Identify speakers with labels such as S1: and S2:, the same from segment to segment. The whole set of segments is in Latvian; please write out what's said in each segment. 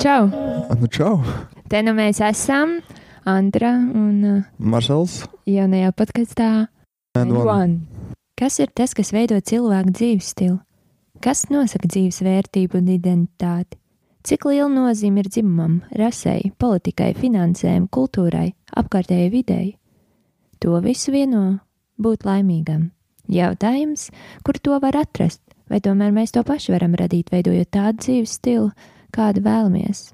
S1: čau!
S2: Nu, čau!
S1: Te nu mēs esam Antra un uh,
S2: Maršals.
S1: jaunajā podkāstā
S2: Nē, nu, labi.
S1: Kas ir tas, kas veido cilvēku dzīves stilu? Kas nosaka dzīves vērtību un identitāti? Cik liela nozīme ir dzimumam, rasei, politikai, finansēm, kultūrai, apkārtējai videi? To visu vieno būt laimīgam. Jautājums, kur to var atrast, vai tomēr mēs to paši varam radīt, veidojot tādu dzīves stilu, kādu vēlamies?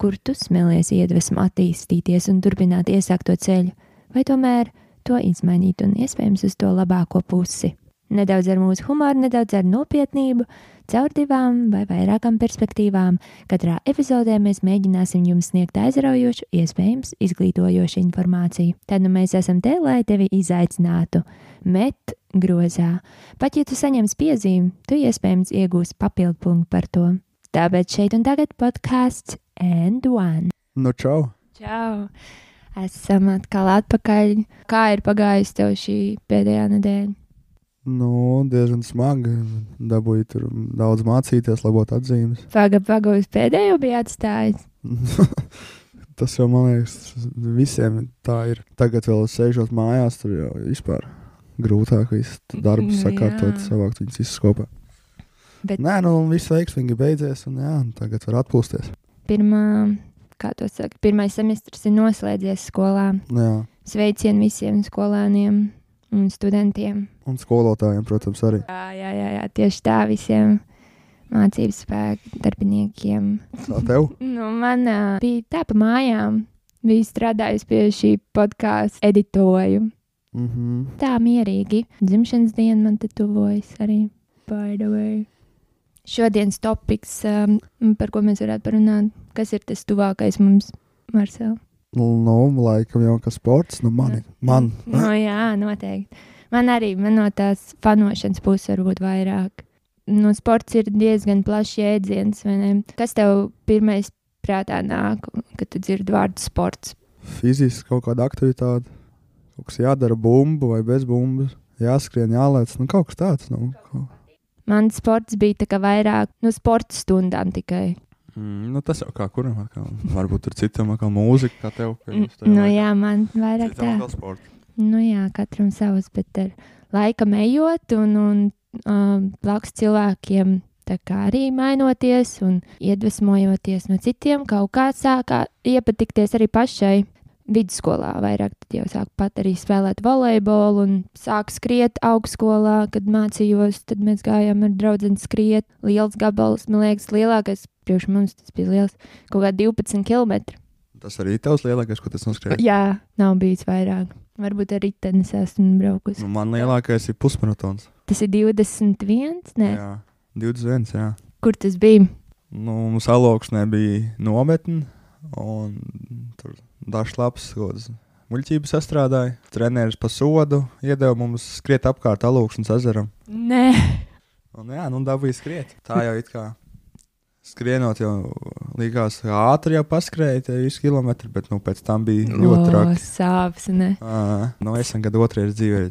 S1: Kur tu smelties iedvesmu attīstīties un turpināt iesākto ceļu, vai tomēr to izmainīt un iespējams uz to labāko pusi? Nedaudz ar mūsu humoru, nedaudz ar nopietnību, caur divām vai vairākām perspektīvām. Katrā epizodē mēs mēģināsim jums sniegt aizraujošu, iespējams, izglītojošu informāciju. Tad nu mēs esam te, lai tevi izaicinātu, met grozā. Pat ja tu saņemsi piezīmi, tu iespējams iegūsi papildu punktu par to. Tāpēc šeit un tagad podkāsts and one.
S2: Nu, čau!
S1: Čau! Esam atkal atpakaļ. Kā ir pagājusi tev šī pēdējā nedēļa?
S2: Nu, diezgan smagi. Dabūju tur daudz mācīties, labot atzīmes.
S1: Paga, paga, uz pēdējo bija atstājis.
S2: Tas jau, man liekas, visiem tā ir. Tagad vēl sēžot mājās, tur jau vispār grūtāk viss
S1: Mm,
S2: darbs sakārtot,
S1: jā.
S2: savākt viņus visus kopā.
S1: Bet-
S2: Nē, nu, viss veiksmīgi beidzies, un jā, tagad var atpūsties.
S1: Pirmā, kā to saka, pirmais semestris ir noslēdzies skolā.
S2: Nu Jā.
S1: Sveicien visiem skolēniem un studentiem.
S2: Un skolotājiem, protams, arī.
S1: Jā, jā, jā, jā tieši tā visiem mācību spēku darbiniekiem.
S2: Kā tev?
S1: Nu, man ā, bija tā pa mājām. Bija strādājusi pie šī podkāstu editoju.
S2: Mhm.
S1: Tā mierīgi. Dzimšanas diena man te tuvojas arī. By the way. Šodienas topiks, um, par ko mēs varētu parunāt, kas ir tas tuvākais mums, Marcel?
S2: Nu, laikam jau kā sports, nu, man.
S1: Mm.
S2: ir. man.
S1: No, jā, noteikti. Man arī man no tās fanošanas puses var būt vairāk. Nu, sports ir diezgan plašs jēdziens. vai ne? Kas tev pirmais prātā nāk, kad tu dzirdi vārdu sports?
S2: fiziski kaut kāda aktivitāte, kaut kas jādara bumbu vai bez bumbas, jāskrien, jālēc, nu kaut kas tāds. Nu, kaut...
S1: Man sports bija tā kā vairāk no sporta stundām tikai.
S3: Mm, nu, tas jau kā kuram, atkal, varbūt tur citam, kā mūzika, kā tev. ka jums tajā
S1: Nu,
S3: laikā-
S1: jā, man vairāk
S3: Citam
S1: tā.
S3: atkal sports.
S1: Nu, jā, katram savs, bet ar laika ejot un, un um, blakus cilvēkiem tā kā arī mainoties un iedvesmojoties no citiem, kaut kā sākā iepatikties arī pašai. Vidusskolā vairāk tad jau sāku pat arī spēlēt volejbolu un sāku skriet augstskolā, kad mācījos. Tad mēs gājām ar draugu skriet. Liels gabals, man liekas, lielākais priekš mums tas bija liels. Kaut kā 12 km.
S3: Tas arī tavs lielākais, ko tas noskrēja.
S1: Jā, nav bijis vairāk. Varbūt arī tenis esmu braukusi.
S3: Nu, man lielākais ir pusmaratons.
S1: Tas ir 21. Nē,
S3: Jā, 21. Jā.
S1: kur tas bija?
S3: Nu, mums aloksnē bija nometne, un tur dažs labs gods. Muļķības sastrādāja, treneris pa sodu iedeva mums skriet apkārt aloksnes ezeram.
S1: Nē,
S3: Un, jā, nu dabūja skriet. Tā jau it kā skrienot, jau likās, ka ātri jau paskrēja tie visi kilometri, bet nu, pēc tam bija ļoti traki.
S1: sāpes. Nē.
S3: Ā, Nu, es gadu otrajā dzīvē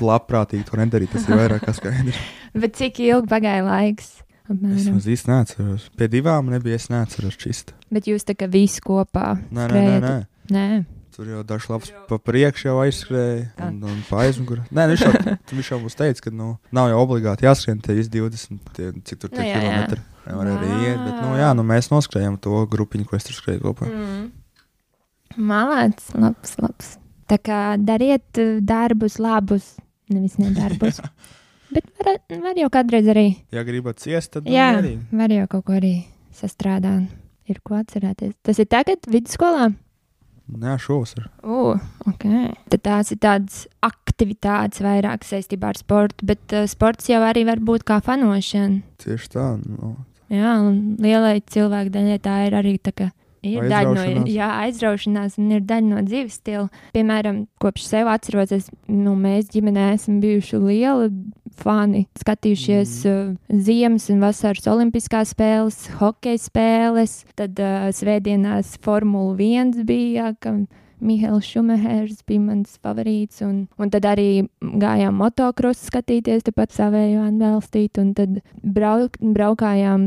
S3: labprātīgi to nedarīju. Tas ir vairāk kā skaidrs.
S1: Bet cik ilgi pagāja laiks?
S3: Es
S1: Apmēram.
S3: maz īsti neatceros. Pie divām nebija es neatceros čist.
S1: Bet jūs tā kā visi kopā.
S3: Nē, nē, nē, nē.
S1: nē.
S3: Tur jau dažs labs pa priekšu jau aizskrēja un, un pa aizmuguru. Nē, nu, viņš jau, viņš jau mums teica, ka nu, nav jau obligāti jāskrien tie visi 20, tie, cik tur
S1: Nu,
S3: tie
S1: jā, jā.
S3: kilometri. Nevar arī iet, bet nu, jā, nu, mēs noskrējām to grupiņu, ko es tur skrēju kopā.
S1: Mm. Malāts, labs, labs. Tā kā dariet eh, darbus labus, nevis nedarbus. Bet var, var jau kādreiz arī.
S3: Ja gribat ciest, tad nu,
S1: Jā,
S3: arī.
S1: var jau kaut ko arī sastrādāt. Ir ko atcerēties. Tas ir tagad vidusskolā.
S3: Nē, šovasar.
S1: Uh, okay. Tad tās ir tādas aktivitātes vairāk saistībā ar sportu, bet uh, sports jau arī var būt kā fanošana.
S2: Tieši tā. Nu.
S1: Jā, un lielai cilvēku daļai tā ir arī tā, ka ir daļa no
S2: Aizraušanās.
S1: jā, aizraušanās, un ir daļa no dzīves stila. Piemēram, kopš sev atceros, es, nu, mēs ģimenē esam bijuši lieli fani. Skatījušies mm. uh, ziemas un vasaras olimpiskās eh, spēles, hokeja spēles, tad uh, svētdienās Formula 1 bija. Ka, Mihails Šumehers bija mans favorīts. Un, un tad arī gājām motocrossu skatīties, tepat savēju atbalstīt. Un tad brauk, braukājām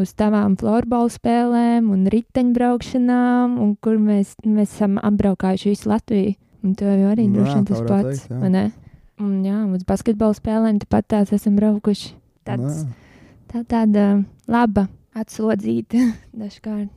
S1: uz tavām florbola spēlēm un riteņbraukšanām, un kur mēs, mēs esam apbraukājuši visu Latviju. Un tev jau arī
S2: Nu jā,
S1: droši vien
S2: tā
S1: tas
S2: varētu
S1: pats.
S2: teikt, jā.
S1: vai ne? Un jā, uz basketbalu spēlēm tepat tās esam braukuši.
S2: Nu
S1: Tāds,
S2: Nē.
S1: tā tāda laba atslodzīta dažkārt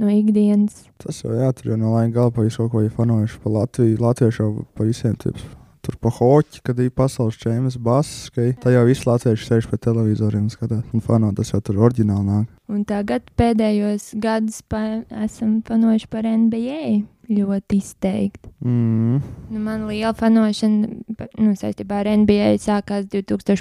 S1: no ikdienas.
S2: Tas jau jā, tur jau no laika gala pa visu kaut ko ir fanojuši. Pa Latviju, Latviešu jau pa visiem tips. Tur pa hoķi, kad ir pasaules čempions bass, ka tā jau viss latvieši sēž pie televizoriem un skatās. Un fano tas jau tur oriģināli nāk.
S1: Un tagad pēdējos gados pa, esam fanojuši par NBA ļoti izteikti.
S2: Mm.
S1: Nu, man liela fanošana pa- nu, saistībā ar NBA sākās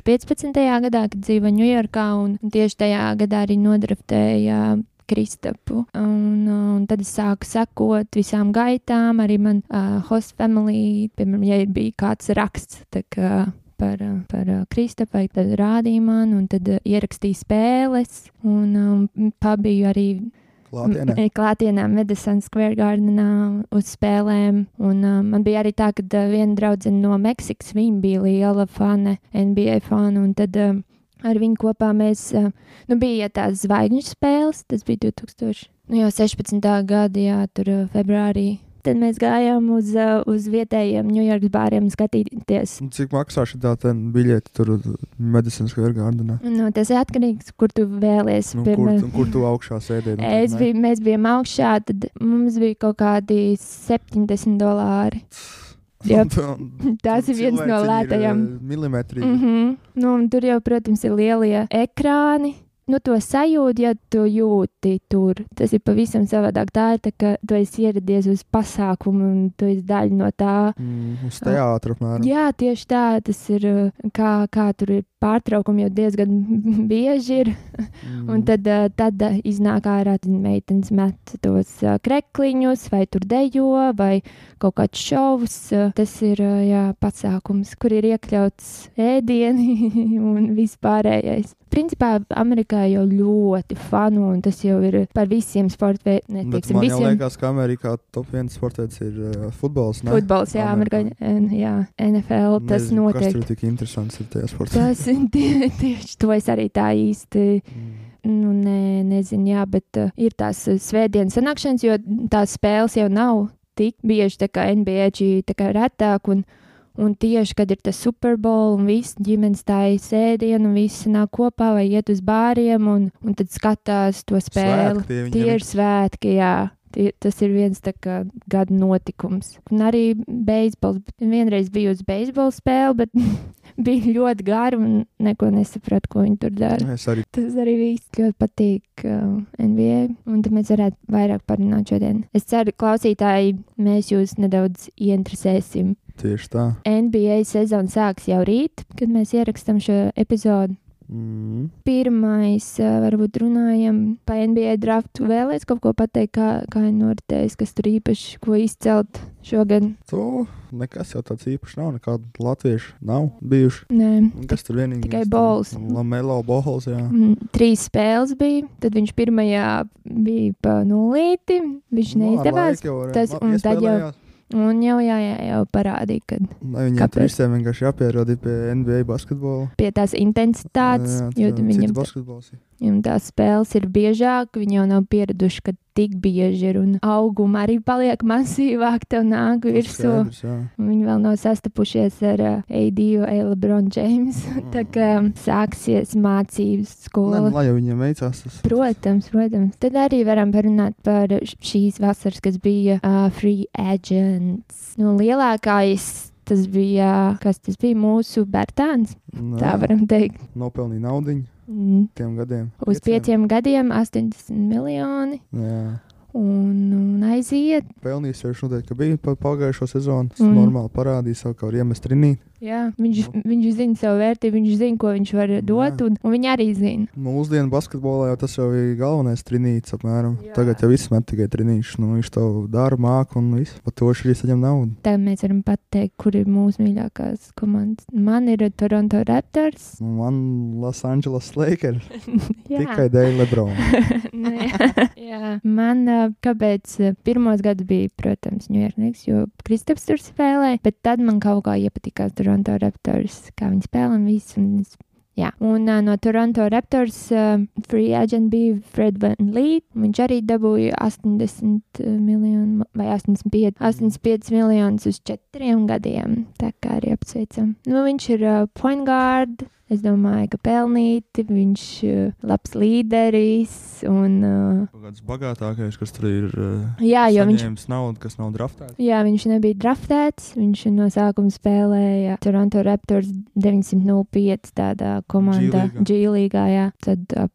S1: 2015. gadā, kad dzīvoju Ņujorkā. un Tieši tajā gadā arī nodraftēja Kristapu. Un, uh, un tad es sāku sekot visām gaitām. Arī man uh, host family, piemēram, ja ir bija kāds raksts. tā kā Par, uh, par uh, Kristapai, tad rādīja man, un tad uh, ierakstīja spēles. Un um, pabiju arī M-
S2: Klātienē.
S1: Mm, Klātienē, Madison Square Gardenā uz spēlēm. Un, uh, man bija arī tā, ka uh, viena draudzene no Meksikas, viņa bija liela fane, NBA fana. un Tad, uh, ar viņu kopā mēs, uh, nu, bija tās zvaigžņu spēles, tas bija 2000, nu, jau 16. gada, jā, tur uh, februārī. Tad mēs gājām uz, uh, uz vietējiem Ņujorkas bāriem skatīties.
S2: Un Cik maksā šī tā ten biļete tur uz Medicīnas Square Gardenā?
S1: Nu, tas ir atkarīgs, kur tu vēlies.
S2: Nu, kur,
S1: piemēram.
S2: un kur tu augšā sēdēji? nu,
S1: Es
S2: ne?
S1: biju, mēs bijām augšā, tad mums bija kaut kādi 70 dolāri. Jā. Tas ir viens no lētajiem.
S2: eh, Milimetrī.
S1: Mm -hmm. nu, un tur jau, protams, ir lielie ekrāni. Nu, to sajūtu, ja tu jūti tur. Tas ir pavisam savādāk. Tā ir tā, ka tu esi ieradies uz pasākumu un tu esi daļa no tā.
S2: Mm, uz teātra apmēram.
S1: Ah. Jā, tieši tā, tas ir uh, kā, kā tur ir pārtraukumi, jau diezgan bieži ir.
S2: Mm.
S1: Un tad, ā, tad ā, iznāk ārā tad meitenes met tos ā, krekliņus, vai tur dejo, vai kaut kāds šovs. ā. Tas ir ā, jā, pasākums, kur ir iekļauts ēdieni un vispārējais. Principā Amerikā jau ļoti fanu, un tas jau ir par visiem sporta veidiem.
S2: Bet man jau liekas, ka Amerikā top 1 sports ir uh, futbols. Ne?
S1: Futbols, jā, Amerikā,
S2: Amerikā.
S1: N- jā, NFL, tas
S2: Nezinu, Kas
S1: notiek.
S2: tur tik interesants ir tajā sportā?
S1: Tas ir tie- tieši to es arī tā īsti Nu, nē, nezinu, jā, bet uh, ir tās uh, svētdienas sanākšanas, jo tās spēles jau nav tik bieži, tā kā NBA ģī, tā kā retāk. Un, un tieši, kad ir tas Super Bowl un viss ģimenes tā ir sēdiena, un visi nāk kopā vai iet uz bāriem un, un tad skatās to spēli.
S2: Mm. Svētki,
S1: Tie ir svētki, jā. Tie- Tas ir viens tā kā gada notikums. Un arī beisbols. Vienreiz biju uz beisbola spēli, bet bija ļoti gara un neko nesapratu, ko viņi tur dara.
S2: Es arī
S1: Tas arī viss ļoti patīk uh, NBA, un tad mēs varētu vairāk parunāt šodien. Es ceru, ka klausītāji mēs jūs nedaudz ieinteresēsim.
S2: tieši tā.
S1: NBA sezona sāksies jau rīt, kad mēs ierakstām šo epizodu.
S2: Mm.
S1: Pirmais, uh, varbūt runājam par NBA draftu. Vēlēs kaut ko pateikt, kā, kā ir noritējis, kas tur īpaši ko izcelt šogad?
S2: Tu nekas jau tāds īpašs nav, nekādu latviešu nav bijuši.
S1: Nē.
S2: Un Kas tur vienīgi?
S1: Tikai bols.
S2: Lamelo bols, jā.
S1: Mm, Trīs spēles bija, tad viņš pirmajā bija pa nulīti, viņš
S2: Nu, ar
S1: neizdevās.
S2: laiku jau varēja-
S1: Tas-
S2: labi,
S1: un tad jau-
S2: iespēlējās.
S1: Un jau, jā, jā, jau parādīja, ka
S2: Lai viņiem tur
S1: Kāpēc?
S2: visiem vienkārši jāpierod pie NBA basketbola.
S1: pie tās intensitātes,
S2: Jā,
S1: jo
S2: jā,
S1: viņiem,
S2: cits basketbols. ir.
S1: viņiem tās spēles ir biežāk, viņi jau nav pieraduši, ka tik bieži ir un auguma arī paliek masīvāk, tev nāk
S2: Tas
S1: virsū.
S2: skaidrs, jā.
S1: Un Viņi vēl nav sastapušies ar uh, ADU, Lebronu James. Tā kā sāksies mācības
S2: Nē, nu,
S1: skola.
S2: Mm. lai jau viņiem veicās, tas
S1: Protams, protams. Tad arī varam parunāt par š- šīs vasaras, kas bija uh, Free Agents. Nu, lielākais tas bija, kas tas bija mūsu Bertāns,
S2: Nē,
S1: tā varam teikt.
S2: nu, Nopelnīja naudu
S1: Mm,
S2: tiem gadiem.
S1: Uz pieciem gadiem 80 miljoni
S2: Jā,
S1: un, un aiziet.
S2: pelnījis jau šodien, ka bija pa pagājušo sezonu. Tas
S1: Mm.
S2: mm. normāli parādīja savu kaut kādu iemest rinīt.
S1: Jā, viņš, viņš zina savu vērtību, viņš zina, ko viņš var dot,
S2: Jā.
S1: un, un viņi arī zina.
S2: Mūsdienu basketbolā jau tas jau ir galvenais trinīts. Apmēram.
S1: Jā.
S2: Tagad jau viss met tikai trinīšu. Nu, viņš to dara, māca un viss. Par to viņš arī saņem naudu.
S1: Tagad mēs varam pateikt, kur ir mūsu mīļākās komandas. Man ir Toronto Raptors.
S2: Nu, Man Losandželas Lakers
S1: Jā, Nu
S2: tikai dēļ Lebrona.
S1: Nē, jā. man uh, kāpēc eh, pirmos gadus bija, protams, Ņujorkas, jo Kristaps tur spēlēja, bet tad man kaut kā iepatikās Toronto Raptors, kā viņi spēlē un viss. Un es Jā. Un uh, no Toronto Raptors uh, free agent bija Fred Van Lee. Viņš arī dabūja 80 miljonus vai 85, 85 miljonus uz četriem gadiem. Tā kā arī apsveicam. Nu, viņš ir uh, point guard. Es domāju, ka pelnīti. Viņš ir uh, labs līderis. Un, uh,
S2: Kaut kāds bagātākais, kas tur ir. Uh,
S1: jā, jo viņš
S2: saņēmis naudu, kas nav draftēts.
S1: Jā, viņš nebija draftēts. Viņš no sākuma spēlēja Toronto Raptors 905. tādā komandā,
S2: G-līgā.
S1: G-līgā. jā. Tad ap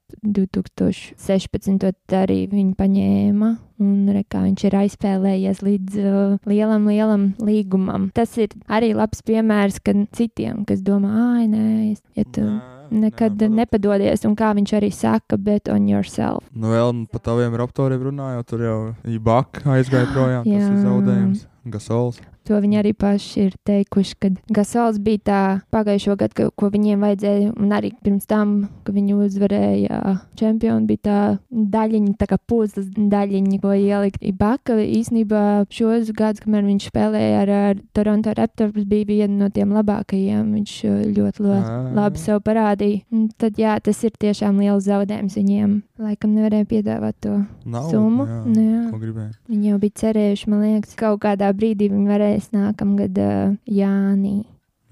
S1: 2016. arī viņu paņēma. Un re, kā viņš ir aizspēlējies līdz uh, lielam, lielam līgumam. Tas ir arī labs piemērs ka citiem, kas domā, ah, nē, es, ja tu nekad nepadodies, un kā viņš arī saka, bet on yourself.
S2: Nu, vēl par taviem raptoriem runājot, tur jau Ibaka aizgāja projām. Tas
S1: Jā.
S2: ir zaudējums. Gasols.
S1: To viņi arī paši ir teikuši, ka Gasols bija tā pagājušo gadu, ka, ko viņiem vajadzēja, un arī pirms tam, kad viņi uzvarēja čempionu, bija tā daļiņa, tā kā puzles daļiņa, ko ielikt Ibaka. Īsnībā šos gadus, kamēr viņš spēlēja ar, ar Toronto Raptors, bija viena no tiem labākajiem. Viņš eh, ļoti, ļoti
S2: Ā.
S1: labi sev parādīja. Un tad, jā, tas ir tiešām liels zaudējums viņiem. Laikam nevarēja piedāvāt to
S2: Nav
S1: summu. Nu, jā.
S2: Ko gribēju?
S1: Viņi jau bija cerējuši, man liekas, ka kaut kādā brīdī viņi varēs nākamgad uh, Jānī.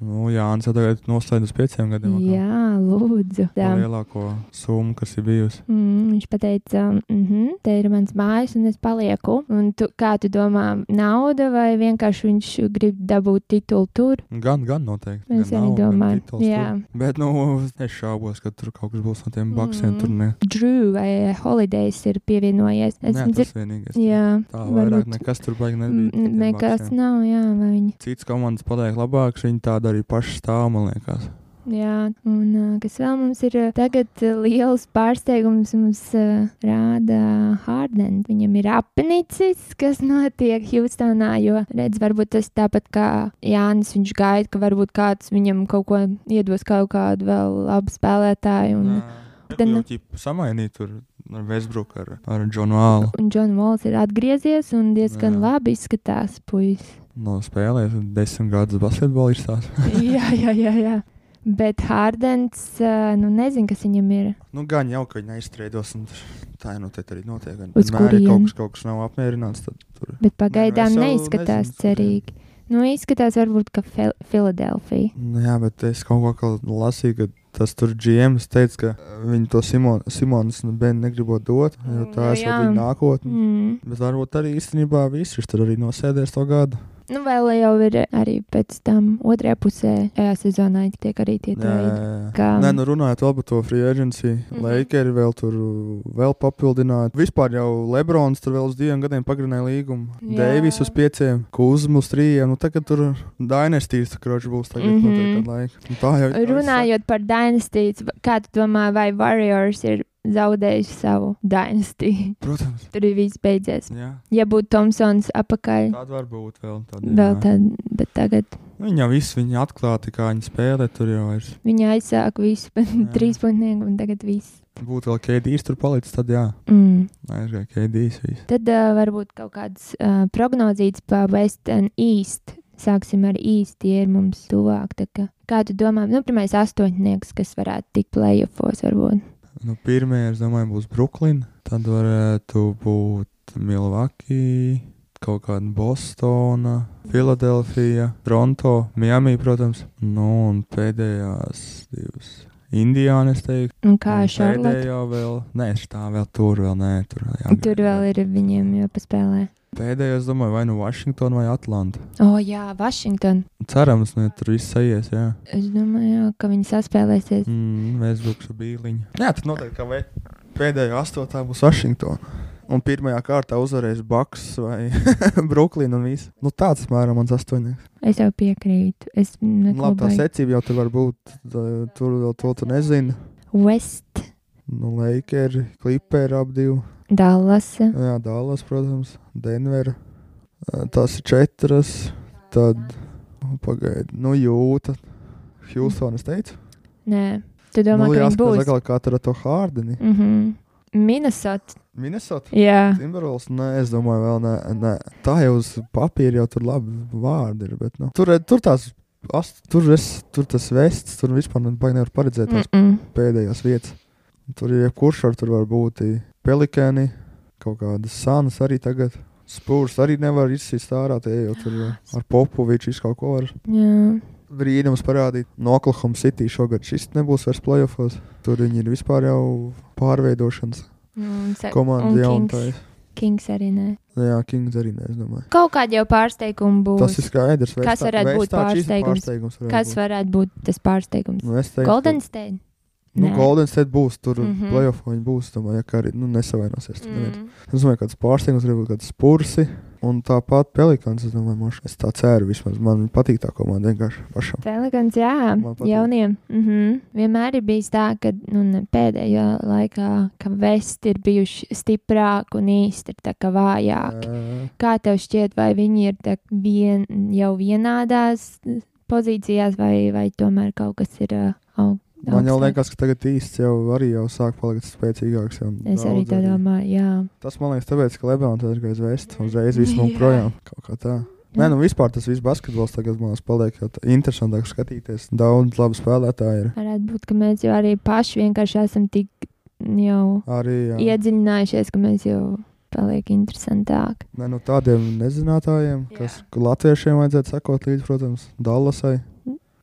S2: Nu, jā, Anna tagad noslēdz uz pieciem gadiem. atkal.
S1: Jā, lūdzu. Jā.
S2: Tā lielāko summu, kas ir bijusi.
S1: Mm, viņš teica, mm -hmm, te ir mans mājas, un es palieku. Un tu, kā tu domā, nauda vai vienkārši viņš grib dabūt titulu tur?
S2: Gan, gan noteikti.
S1: Es arī
S2: gan naudu, gan
S1: domāju,
S2: tituls tur.
S1: jā.
S2: Bet, nu, es šaubos, ka tur kaut kas būs no tiem baksiem.
S1: Mm.
S2: Mm. Tur ne.
S1: Drew vai Holidays ir pievienojies. Es
S2: Nē,
S1: dzirdu,
S2: tas vienīgais.
S1: jā,
S2: Tā vairāk
S1: varbūt
S2: nekas tur baigi
S1: n-
S2: nebija.
S1: n-
S2: tiem
S1: nekas
S2: baksiem.
S1: nav, jā, vai viņi.
S2: Cits komandas paliek labāks, viņi tāda arī paši stāv, man liekas.
S1: Jā, un ā, kas vēl mums ir ā, tagad ā, liels pārsteigums, mums ā, rāda Hardens. Viņam ir apnicis, kas notiek Hjūstonā, jo redz, varbūt tas tāpat kā Jānis, viņš gaida, ka varbūt kāds viņam kaut ko iedos, kaut kādu vēl labu spēlētāju. Un, Tad
S2: Tad
S1: ne-
S2: jau ķip samainīt tur ar Vēsbruku, ar, ar Džonu Vālu.
S1: un Džons Vols ir atgriezies un diezgan
S2: Jā.
S1: labi izskatās puisis.
S2: No spēlēs desmit gadus basketbolu ir tās.
S1: jā, jā, jā, jā. Bet Hardens, ā, nu nezinu, kas viņam ir.
S2: Nu, gan jau, ka viņi aizstrēdos, un tā nu te arī notiek. Un
S1: Uz
S2: vienmēr, ja
S1: kurieni?
S2: kaut kas, kaut kas nav apmierināts, tad tur.
S1: Bet pagaidām
S2: es vēl
S1: neizskatās
S2: nezinu,
S1: cerīgi. Nu, izskatās, varbūt, ka Fel- Filadelfija.
S2: Nu, jā, bet es kaut ko atkal lasīju, ka tas tur GMs teica, ka eh, viņi to Simon, Simonas un Benu negribot dot, jo
S1: Nu,
S2: tā ir
S1: jā.
S2: viņa nākotne.
S1: Mm.
S2: Bet varbūt arī īstenībā viss viņš tur arī nosēdēs to gadu.
S1: Nu, vēl jau ir arī pēc tam otrajā pusē šajā sezonā tiek arī tie tādi. Kā-
S2: Nē, nu runājot vēl par to free agency, mm
S1: Um. Mhm.
S2: -hmm. Lakers vēl tur uh, vēl papildināja. Vispār jau Lebrons tur vēl uz diviem gadiem pagarināja līgumu.
S1: Jā.
S2: Deivis uz pieciem, Kuzma uz trījiem. Nu, tagad tur dinastijas kroķis būs tagad mm
S1: Mhm.
S2: -hmm. noteikti kādu laiku. Nu, tā jau ir.
S1: Runājot par dynastijas, kā tu domā, vai Warriors ir zaudējuši savu dynastiju?
S2: Protams.
S1: Tur ir viss beidzies.
S2: Jā,
S1: Ja būtu Tomsons apakaļ,
S2: tāda var būt vēl. Tāda,
S1: vēl
S2: jā.
S1: tad, bet tagad
S2: Viņa jau viss viņa atklāti, kā viņa spēlē. Tur jau vairs
S1: viņi aizsāk visu trīspunktnieku un tagad viss.
S2: būtu vēl KDs tur palicis. Tad jā,
S1: Mm.
S2: aizgāja KDs. Viss.
S1: Tad uh, varbūt kaut kādas uh, prognozītas par West and East. Sāksim ar īsti, tie ir mums tuvāk. tā kā. Kā tu domā, nu, pirmais astoņnieks, kas varētu tikt playoffos, varbūt?
S2: Nu, Pirmie, es domāju, būs Brooklyn, tad varētu būt Milvaki, kaut kāda Bostona, Filadelfija, Toronto, Miami, protams. Nu, un pēdējās divas. Indiāna, es teiktu,
S1: Un kā
S2: un
S1: Charlotte?
S2: pēdējā vēl, nē, tā vēl tur, vēl nē, tur
S1: Tur vēl ir viņiem jāpaspēlē.
S2: Pēdējā, es domāju, vai nu Vašingtona vai Atlanta.
S1: O, oh, jā, Vašington.
S2: Cerams, ne, tur viss aizies, jā.
S1: Es domāju, jā, ka viņi saspēlēsies.
S2: Mm, Vēsbruks ar bīliņu. Jā, tad noteikti, ka vai- pēdējā astotā būs Vašingtona. Un pirmajā kārtā uzvarēs Baks vai Brooklyna un viss. Nu, tāds mēram mans astoņnieks.
S1: Es jau piekrītu. Es
S2: Nu, Labi, tā
S1: nezinu,
S2: secība jau tur var būt. tā- Tur vēl to tu nezini.
S1: West,
S2: Nu, Lakers, Clippers ap divi.
S1: Dallas,
S2: Jā, Dallas, protams, Denver. Eh, Tās ir četras. Tad, pagaidiet, nu jūta. Hjūstonas teica.
S1: nē. Tu domā,
S2: nu,
S1: ka viņi būs?
S2: jāskatās atkal, kā tur ar to Hārdeni.
S1: Mhm. Minnesota.
S3: Minnesota.
S1: Jā,
S3: Timberwolves.
S2: Nē, es domāju, vēl nē, nē. tā jau uz papīra jau tur labi vārdi ir. Bet, nu, tur, tur tās. Ast, tur, es, tur tas vests, tur vispār nu, baigi nevar paredzēt tās
S1: mm -mm.
S2: pēdējās vietas. Tur ir jebkurš, var- tur var būt i pelikāni, kaut kādas sānas arī tagad. Spūrs arī nevar izsist ārā, tie jau tur i, ar Popoviču visu kaut ko var
S1: jā.
S2: brīnums parādīt. No Oklahoma City šogad šis nebūs vairs playoffs. Tur viņi ir vispār jau pārveidošanas
S1: Un se- un
S2: komanda jaunatājs.
S1: Kings arī nē.
S2: Jā, Kings arī ne, es domāju.
S1: Kaut kāda jau pārsteiguma būs.
S2: Tas ir skaidrs. vai
S1: Kas
S2: tā-
S1: varētu
S2: vai
S1: būt
S2: tā šis
S1: pārsteigums?
S2: pārsteigums varētu
S1: Kas
S2: būt?
S1: varētu būt tas pārsteigums?
S2: Nu, es teiktu,
S1: Golden State.
S2: nu,
S1: Nē.
S2: Golden State būs tur, mm
S1: Mhm.
S2: -hmm. playoffs viņi būs. Domāju, ja, ka arī nu, nesavainosies. tur neviens.
S1: Mm.
S2: Es domāju, ka tas pārsteigums var būt kāds spursi. Un tāpat pelikāns, es domāju, moš, es tā ceru. Vismaz man viņa patīk tā komanda vienkārši pašam.
S1: Pelikans, jā,
S2: Man patīk.
S1: jauniem. Mm -hmm. Vienmēr ir bijis tā, ka nu, ne pēdējā laikā, ka vesti ir bijuši stiprāki un īsti ir tā kā vājāki.
S2: Ē,
S1: Kā tev šķiet, vai viņi ir tā vien, jau vienādās pozīcijās, vai, vai tomēr kaut kas ir uh, aug,
S2: Man jau
S1: augstāk?
S2: liekas, ka tagad īsts jau arī jau sāk palikt spēcīgāks. jau
S1: Es arī
S2: daudz
S1: tā domāju, jā.
S2: Tas man liekas, tāpēc, ka Lebrons aizgāja uz vēstures, uzreiz viss mums
S1: Jā.
S2: projām. Kaut kā tā. Nē, nu vispār tas viss basketbols tagad man liekas, paliek jau tā- interesantāk skatīties. Daudz labu spēlētāju ir.
S1: Varētu būt, ka mēs jau arī paši vienkārši esam tik jau
S2: Arī jā.
S1: iedziļinājušies, ka mēs jau paliek interesantāki.
S2: Nē, nu, tādiem nezinātājiem,
S1: Jā.
S2: kas latviešiem vajadzētu sakot līdzi, protams, Dallasai.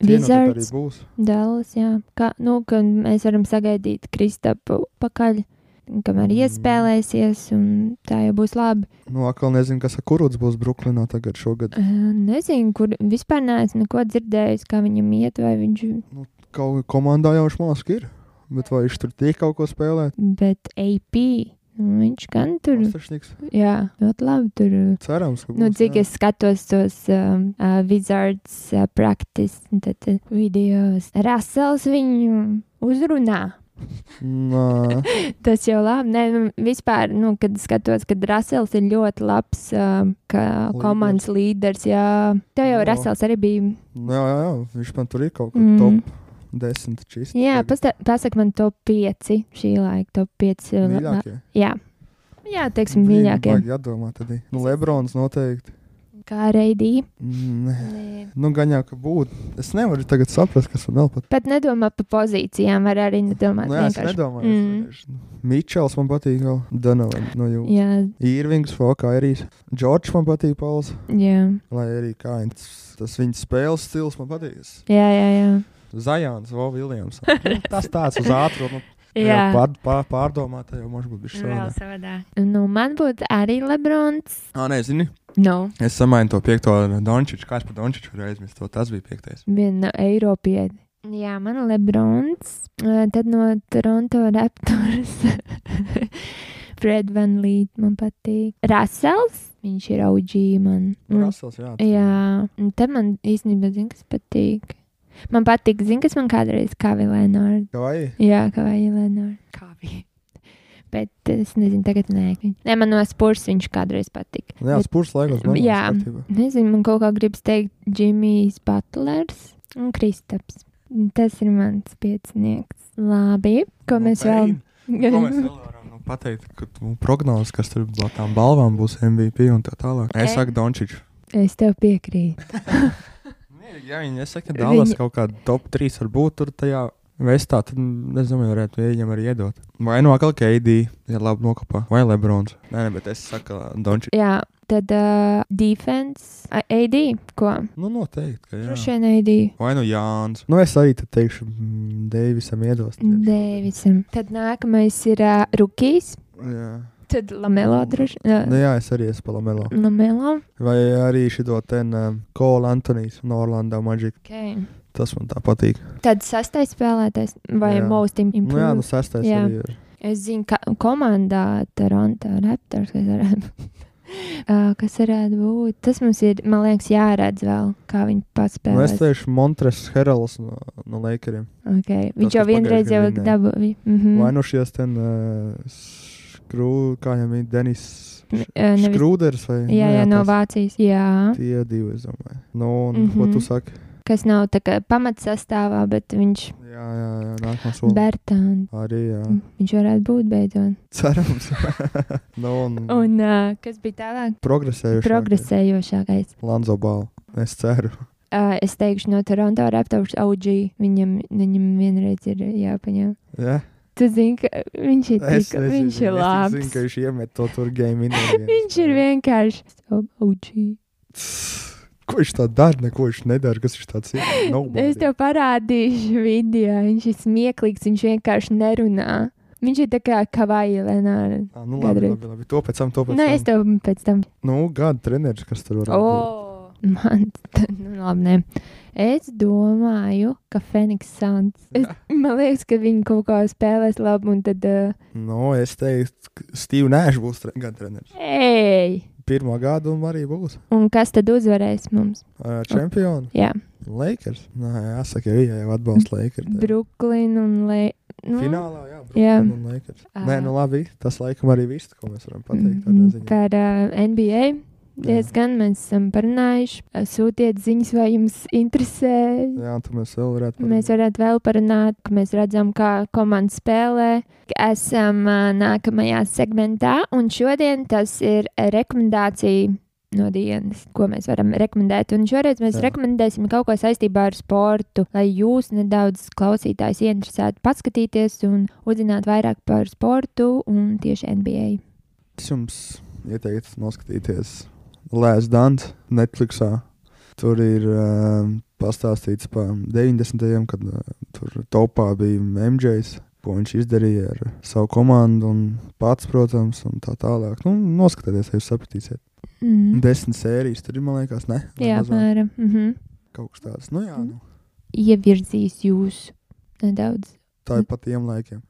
S2: Cienot, ka tā
S1: Wizards.
S2: arī būs.
S1: Dēls, jā. Kā, nu, ka mēs varam sagaidīt Kristapu pakaļ, kamēr
S2: Mm.
S1: iespēlēsies, un tā jau būs labi.
S2: Nu, atkal nezinu, kas ar kuruds būs Brooklynā tagad šogad.
S1: Eh, Nezinu, kur vispār neesmu neko dzirdējis, kā viņam iet, vai viņš,
S2: Kaut kā komandā jau šmāski ir, bet vai viņš tur tiek kaut ko spēlēt?
S1: bet AP, nu, viņš gan tur,
S2: Astašniks.
S1: jā, ļoti labi tur.
S2: Cerams, ka būs.
S1: Nu, cik
S2: jā.
S1: es skatos tos um, uh, Wizards uh, practice tad, uh, videos, Rasels viņu uzrunā.
S2: Nā,
S1: Tas jau labi. Nē, nu, vispār, nu, kad skatos, ka Rasels ir ļoti labs um, kā
S2: Līderis.
S1: komandas līderis. Jā, tev jau
S2: Jā.
S1: Rasels arī bija.
S2: nu, jā, jā, jā, viņš man tur ir kaut kā mm.
S1: Mm.
S2: top 10 čist.
S1: Jā,
S2: tagad.
S1: pasta- pasak man top 5 šī laika, top 5. la-
S2: Mīļākie.
S1: Jā. jā, teiksim, mīļākie.
S2: Jā, domā, tad ir. Nu, Lebrons noteikti.
S1: Kā reidī.
S2: Nē. Nu, gaņā, ka būtu. Es nevaru tagad saprast, kas man vēl pat.
S1: Pat nedomā par pozīcijām, var arī nedomāt.
S2: Nu, jā, es
S1: vienkārši.
S2: nedomāju.
S1: Mm.
S2: Mm. Mičels man patīk, vēl Donovan no jums.
S1: Jā,
S2: Irvings, Fokā arī. Džordžs man patīk, Pauls.
S1: jā,
S2: Lai arī kā viņš, tas viņa spēles stils man patīk.
S1: jā, jā.
S2: Zajāns, Vau, Viljams. Nu, tas tāds uz ātrumu.
S1: jā. jā.
S2: Pār, pār, pārdomāt, jau mums būtu bijis
S1: Vēl
S2: šādi.
S1: savādāk. Nu, man būtu arī Lebrons. Nu,
S2: Ā, nē, zini.
S1: No.
S2: Es samainu to piekto Dončiču. Kā es par Dončiču reiz aizmirsu, tas bija piektais.
S1: Viena Eiropieta. Jā, man ir Lebrons, eh, tad no Toronto Raptors. Fred Van Līt man patīk. Rasels, viņš ir OG man.
S2: Mm.
S1: Un,
S2: Rasels, jā.
S1: jā, un tad man īstenībā zina, kas patīk. Man patīk, zina, kas man kādreiz kavē Lenārds.
S2: Vai?
S1: Jā, kā vai Lenārds. Kā bija? nu. Bet es nezinu, tagad nē. Nē, man no spurs viņš kādreiz patika.
S2: Nu Jā,
S1: Bet-
S2: spurs laikos. man
S1: Jā.
S2: liekas, kārtībā.
S1: Nezinu, man kaut kā gribas teikt, Džimijs Butlers un Kristaps. Tas ir mans piecinieks. Labi, ko
S2: Nu,
S1: mēs vēl.
S2: Payne. Ko mēs vēl varam nu, pateikt? Kad nu, prognozes, kas tur blakus tam balvām būs MVP un tā tālāk. Es
S1: Ei.
S2: saku Dončiču.
S1: Es tev piekrītu.
S2: Nē, Nu, Ja viņi nesaka, ka Dallas
S1: Viņi-
S2: kaut kāda top 3 var būt tur tajā vestā, tad nezinu, vai varētu viņam arī iedot. Vai no atkal KD, ja labi nokopā, vai Lebrons. Nē, nē, bet es saku uh, Dončiču.
S1: Jā, tad uh, defense, A- AD, ko?
S2: Nu, noteikti, ka jā.
S1: Droši vien AD.
S2: Vai nu Jānis? Nu, es arī tad teikšu, mm, Deivisam iedos.
S1: Deivisam. Tad nākamais ir uh, Rukijs,
S2: Jā.
S1: tad Lamelo droši.
S2: Nu,
S1: Uh,
S2: jā, es arī esmu Palamelo.
S1: Lamelo.
S2: Vai arī šito ten um, Kola Antonijas no Orlando Magic.
S1: Okay.
S2: Tas man tā patīk.
S1: Tad sastais spēlētājs vai
S2: Jā.
S1: most improved.
S2: Nu, jā, nu sastais
S1: Mhm. Jā.
S2: jā. arī ir.
S1: Es zinu, ka komandā Toronto Raptors, kas varētu, Ā, kas varētu būt. Tas mums ir, man liekas, jāredz vēl, kā viņi
S2: Nu, es
S1: paspēlēs.
S2: teikšu Montres Herals no, no Lakeriem.
S1: Okay. Viņš
S2: Tas,
S1: jau
S2: kas
S1: vienreiz jau
S2: pagājušajā gadā
S1: dabūja.
S2: Mm. Vai
S1: Mhm.
S2: nu šies ten uh, skrū, kā viņam ir Denis
S1: N- ā, nevis-
S2: Skrūders vai
S1: Jā, jā, no
S2: nu tas-
S1: Vācijas. Jā.
S2: Tie divi, es domāju. Nu, un mm
S1: Mhm.
S2: -hmm. ko tu saki?
S1: kas nav tā kā pamatsastāvā, bet viņš
S2: Jā, jā, jā nākamā
S1: ir
S2: soli.
S1: Bertāns.
S2: Arī jā.
S1: Viņš varētu būt beidzot.
S2: Cerams. nu, un
S1: Un uh, kas bija tālāk?
S2: progresējuši.
S1: Progresējošākais.
S2: Lanzo balvu. Es ceru.
S1: Uh, es teikšu, no Toronto Raptors OG. Viņam, viņam vienreiz ir jāpaņem.
S2: Ja?
S1: Tu zini, ka viņš ir,
S2: Es
S1: tik, viņš ir
S2: Es
S1: labs.
S2: zinu, ka viņš iemet to tur game interviju.
S1: Viņš ir vienkārši O- OG.
S2: Ko viņš tā dara? Neko viņš nedara. Kas viņš tāds ir? Nobody.
S1: Es tev parādīšu video. Viņš ir smieklīgs, viņš vienkārši nerunā. Viņš ir tā kā kavaja Lenāra.
S2: Ah, nu, labi,
S1: Gandrīz.
S2: labi, labi. To pēc tam, to pēc
S1: Nē, es
S2: tam.
S1: tev pēc tam
S2: Nu, gada treneris, kas tur var būt.
S1: Oh, man tā, nu, labi. Nē. Es domāju, ka Fēniks Sands. Es, man liekas, ka viņi kaut kā spēlēs labi, un tad. Uh,
S2: Nu, es teiktu, ka Steve Nēš būs tre gada treneris.
S1: ej!
S2: Pirmā gada un arī būs.
S1: Un kas tad uzvarēs mums?
S2: Ā, Čempioni.
S1: Jā,
S2: Lakers. Nē, jāsaka, jau jā, jau atbalsta Lakers. Tā.
S1: Brooklyn un Le... nu,
S2: Finālā, jā.
S1: Jā.
S2: Brooklyn Un Lakers. Nē,
S1: Ā.
S2: nu labi. Tas laikam arī viss, ko mēs varam pateikt. tādā
S1: mm,
S2: ziņā.
S1: Par uh, NBA. Diezgan mēs esam parunājuši. Uh, Sūtiet ziņas, vai jums interesē.
S2: Jā, un tad mēs vēl varētu.
S1: Mēs varētu vēl parunāt, ka mēs redzam, kā komanda spēlē. Esam ā, nākamajā segmentā, un šodien tas ir rekomendācija no dienas, ko mēs varam rekomendēt. Un šoreiz mēs
S2: Jā.
S1: Jā. rekomendēsim kaut ko saistībā ar sportu, lai jūs nedaudz klausītājs ieinteresētu paskatīties un uzzināt vairāk par sportu un tieši NBA.
S2: Es jums ieteiktu noskatīties Lēs Dants Netflixā. Tur ir uh, pastāstīts par 90. gadsimtu, kad uh, tur topā bija MJs, ko viņš izdarīja ar savu komandu un pats, protams, un tā tālāk. Nu, noskatieties, ja jūs sapratīsiet.
S1: Mm.
S2: Desmit sērijas tur ir, man liekas, ne? Vai
S1: Jā, Mm.
S2: mazāk?
S1: apmēram. Mm -hmm.
S2: kaut kas tāds. Nu, jā, nu,
S1: Ievirzīs jūs nedaudz
S2: tā ir pat tiem laikiem.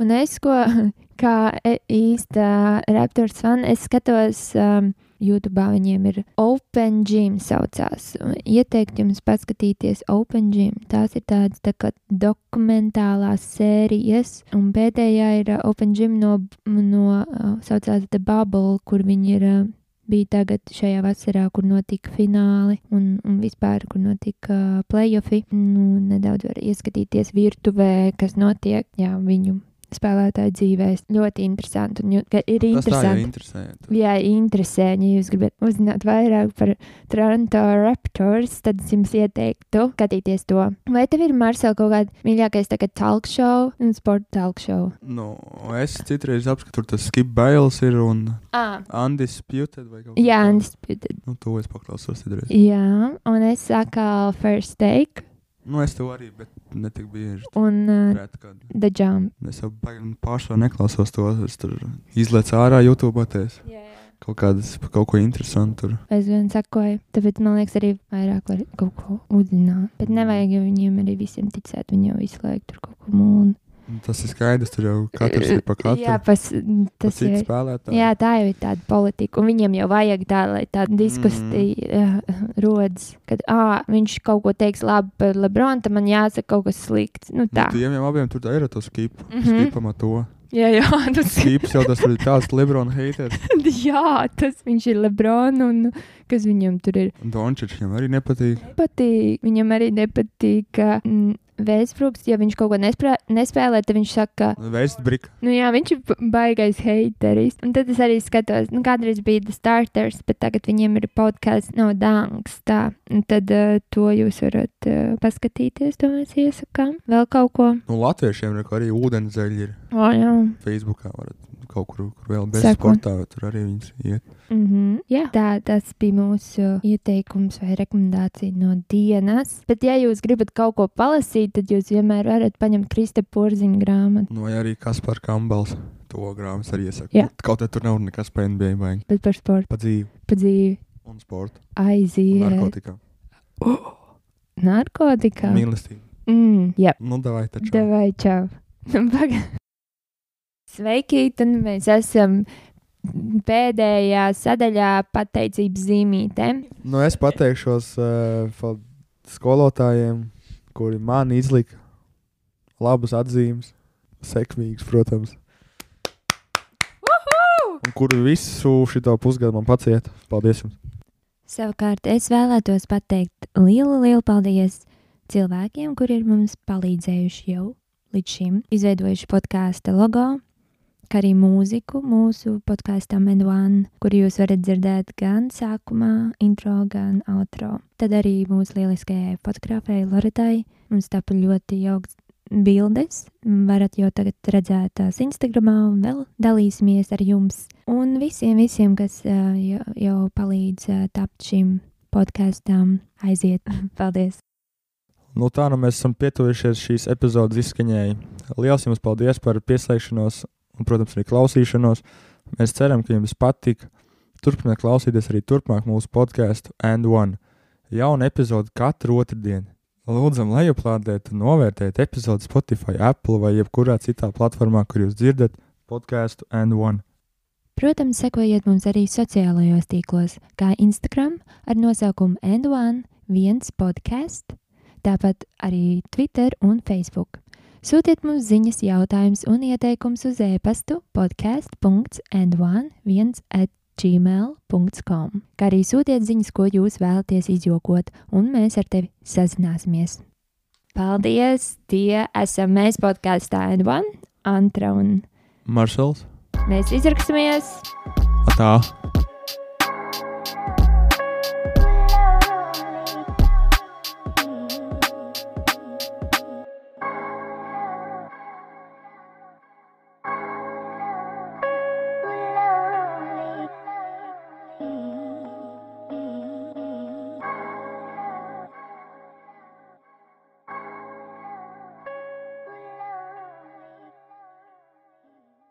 S1: Un es, ko, kā e- īsta Raptors fan, es skatos, um, YouTube viņiem ir Open Gym saucās. Un Ieteiktu jums paskatīties Open Gym. Tās ir tādas tā kā dokumentālās sērijas, un pēdējā ir uh, Open Gym no, no uh, saucās The Bubble, kur viņi ir. Uh, Bija tagad šajā vasarā, kur notika fināli un, un vispār, kur notika uh, playoffi. Nu, nedaudz var ieskatīties virtuvē, kas notiek jā, viņu spēlētāju dzīvēs. Ļoti interesanti. Un, jū, ka ir interesanti.
S3: interesanti.
S1: Ja interesē, ja jūs gribat uzzināt vairāk par Toronto Raptors, tad es jums ieteiktu skatīties to. Vai tev ir Marcel kaut kāda mīļākais tagad talk show un sporta talk show?
S3: Nu, es citreiz apskatu, tur tas skip bailes ir un
S1: À.
S3: undisputed vai kaut kas
S1: Jā,
S3: tāds.
S1: undisputed.
S3: Nu, to es paklausos citreiz.
S1: Jā, un es saku first take
S3: Nu, es to arī, bet ne tik bieži.
S1: un uh,
S3: Rēt, kad.
S1: the jump.
S3: Es jau baigi pašā neklausos to. Es tur izlieku ārā YouTube. Ties. Kaut kādas kaut ko interesantu tur.
S1: Es gan sakoju, tāpēc man liekas, arī vairāk var kaut ko uzzināt. Bet nevajag jau viņiem arī visiem ticēt, viņi jau visu laiku tur kaut ko mūna.
S3: Nu, Tas ir skaidrs, tur jau katrs ir pa katru.
S1: Jā, pas,
S3: pa
S1: tas
S3: citu
S1: ir.
S3: spēlētāju.
S1: Jā, tā jau ir tāda politika. Un viņiem jau vajag tādu, lai
S3: Mm.
S1: tāda diskusija mm. rodas, kad à, viņš kaut ko teiks labi par Lebronu, tad man jāsaka kaut kas slikts. Nu, tā.
S3: Nu, tiem jau abiem tur tā ir ar to skipu. Mm
S1: Mhm.
S3: -hmm. Skipam ar to.
S1: Jā, jā, tas ir.
S3: Skips jau tas tur ir tāds Lebrona haters.
S1: jā, tas viņš ir Lebrons un kas viņam tur ir.
S3: Dončičs viņam arī nepatīk.
S1: Patīk. Viņam arī nepatīk, ka mm, Vēsbruks, ja viņš kaut ko nesprā- nespēlē, tad viņš saka, ka
S3: Vestbrika.
S1: Nu, jā, viņš ir ba- baisais haiteris. Un tad es arī skatos, nu, kādreiz bija The Starters, bet tagad viņiem ir podkāsts no Dunkas. tā. Un Tad uh, to jūs varat uh, paskatīties, to mēs iesakām. Vēl kaut ko.
S3: Nu, latviešiem reku, arī ūdenzēļi ir
S1: O, jā.
S3: Facebookā. Varat kaut kur, kur vēl bez
S1: Seko.
S3: sportā, bet tur arī viņas iet.
S1: Mm -hmm. jā. Tā, tas bija mūsu ieteikums vai rekomendācija no dienas. Bet, ja jūs gribat kaut ko palasīt, tad jūs vienmēr varat paņemt Krista Porziņa grāmatu.
S3: Nu, vai arī Kaspar Kambals. To grāmatas arī iesaku.
S1: Jā.
S3: Kaut kā tur nav nekas par NBA baigi.
S1: Bet par sportu,
S3: Pa dzīvi
S1: pa dzīvi,
S3: un sportu. Un
S1: aiziet.
S3: narkotikām.
S1: Narkotikā.
S3: Mīlestība.
S1: Mm, jā.
S3: Nu, davai taču.
S1: Davai, čau. Paga- Sveiki, tad mēs esam pēdējā sadaļā pateicības zīmītēm.
S2: Nu, es pateikšos
S3: eh,
S2: uh, pa skolotājiem, kuri man izlika labas atzīmes, sekmīgas, protams, un kuri visu šo pusgadu man pacieta. Paldies! Jums.
S1: Savukārt es vēlētos pateikt lielu, lielu paldies cilvēkiem, kuri ir mums palīdzējuši jau līdz šim, izveidojuši podkāstu logo, kā arī mūziku mūsu podkāstam Envānu, kur jūs varat dzirdēt gan sākumā, intro, gan outro. Tad arī mūsu lieliskajai fotografijai Loretai mums tapu ļoti jauks bildes. Varat jau tagad redzēt tās Instagramā un vēl dalīsimies ar jums. Un visiem, visiem kas ā, jau, jau palīdz ā, tapt šim podkāstam, aiziet. Paldies!
S2: Nu, tā nu mēs esam pietuvušies šīs epizodes izskaņai. Lielas jums paldies par pieslēgšanos un, protams, arī klausīšanos. Mēs ceram, ka jums patika. Turpiniet klausīties arī turpmāk mūsu podkāstu And One. Jauna epizode katru otrdienu. Lūdzam, lai aplādējiet un novērtējiet epizodi Spotify, Apple vai jebkurā citā platformā, kur jūs dzirdat podkāstu And One.
S1: Protams, sekojiet mums arī sociālajos tīklos, kā Instagram ar nosaukumu Endvāns, viens podkāsts, tāpat arī Twitter un Facebook. Sūtiet mums ziņas, jautājumus un ieteikumus uz e-pastu podkāsts.endvāns1.gmail.com, kā arī sūtiet ziņas, ko jūs vēlaties izjokot, un mēs ar tevi sazināsimies. Paldies! Tie esam mēs podkāstā Endvāns, Antra un
S2: Maršals,
S1: mēs izraksimies!
S2: tā!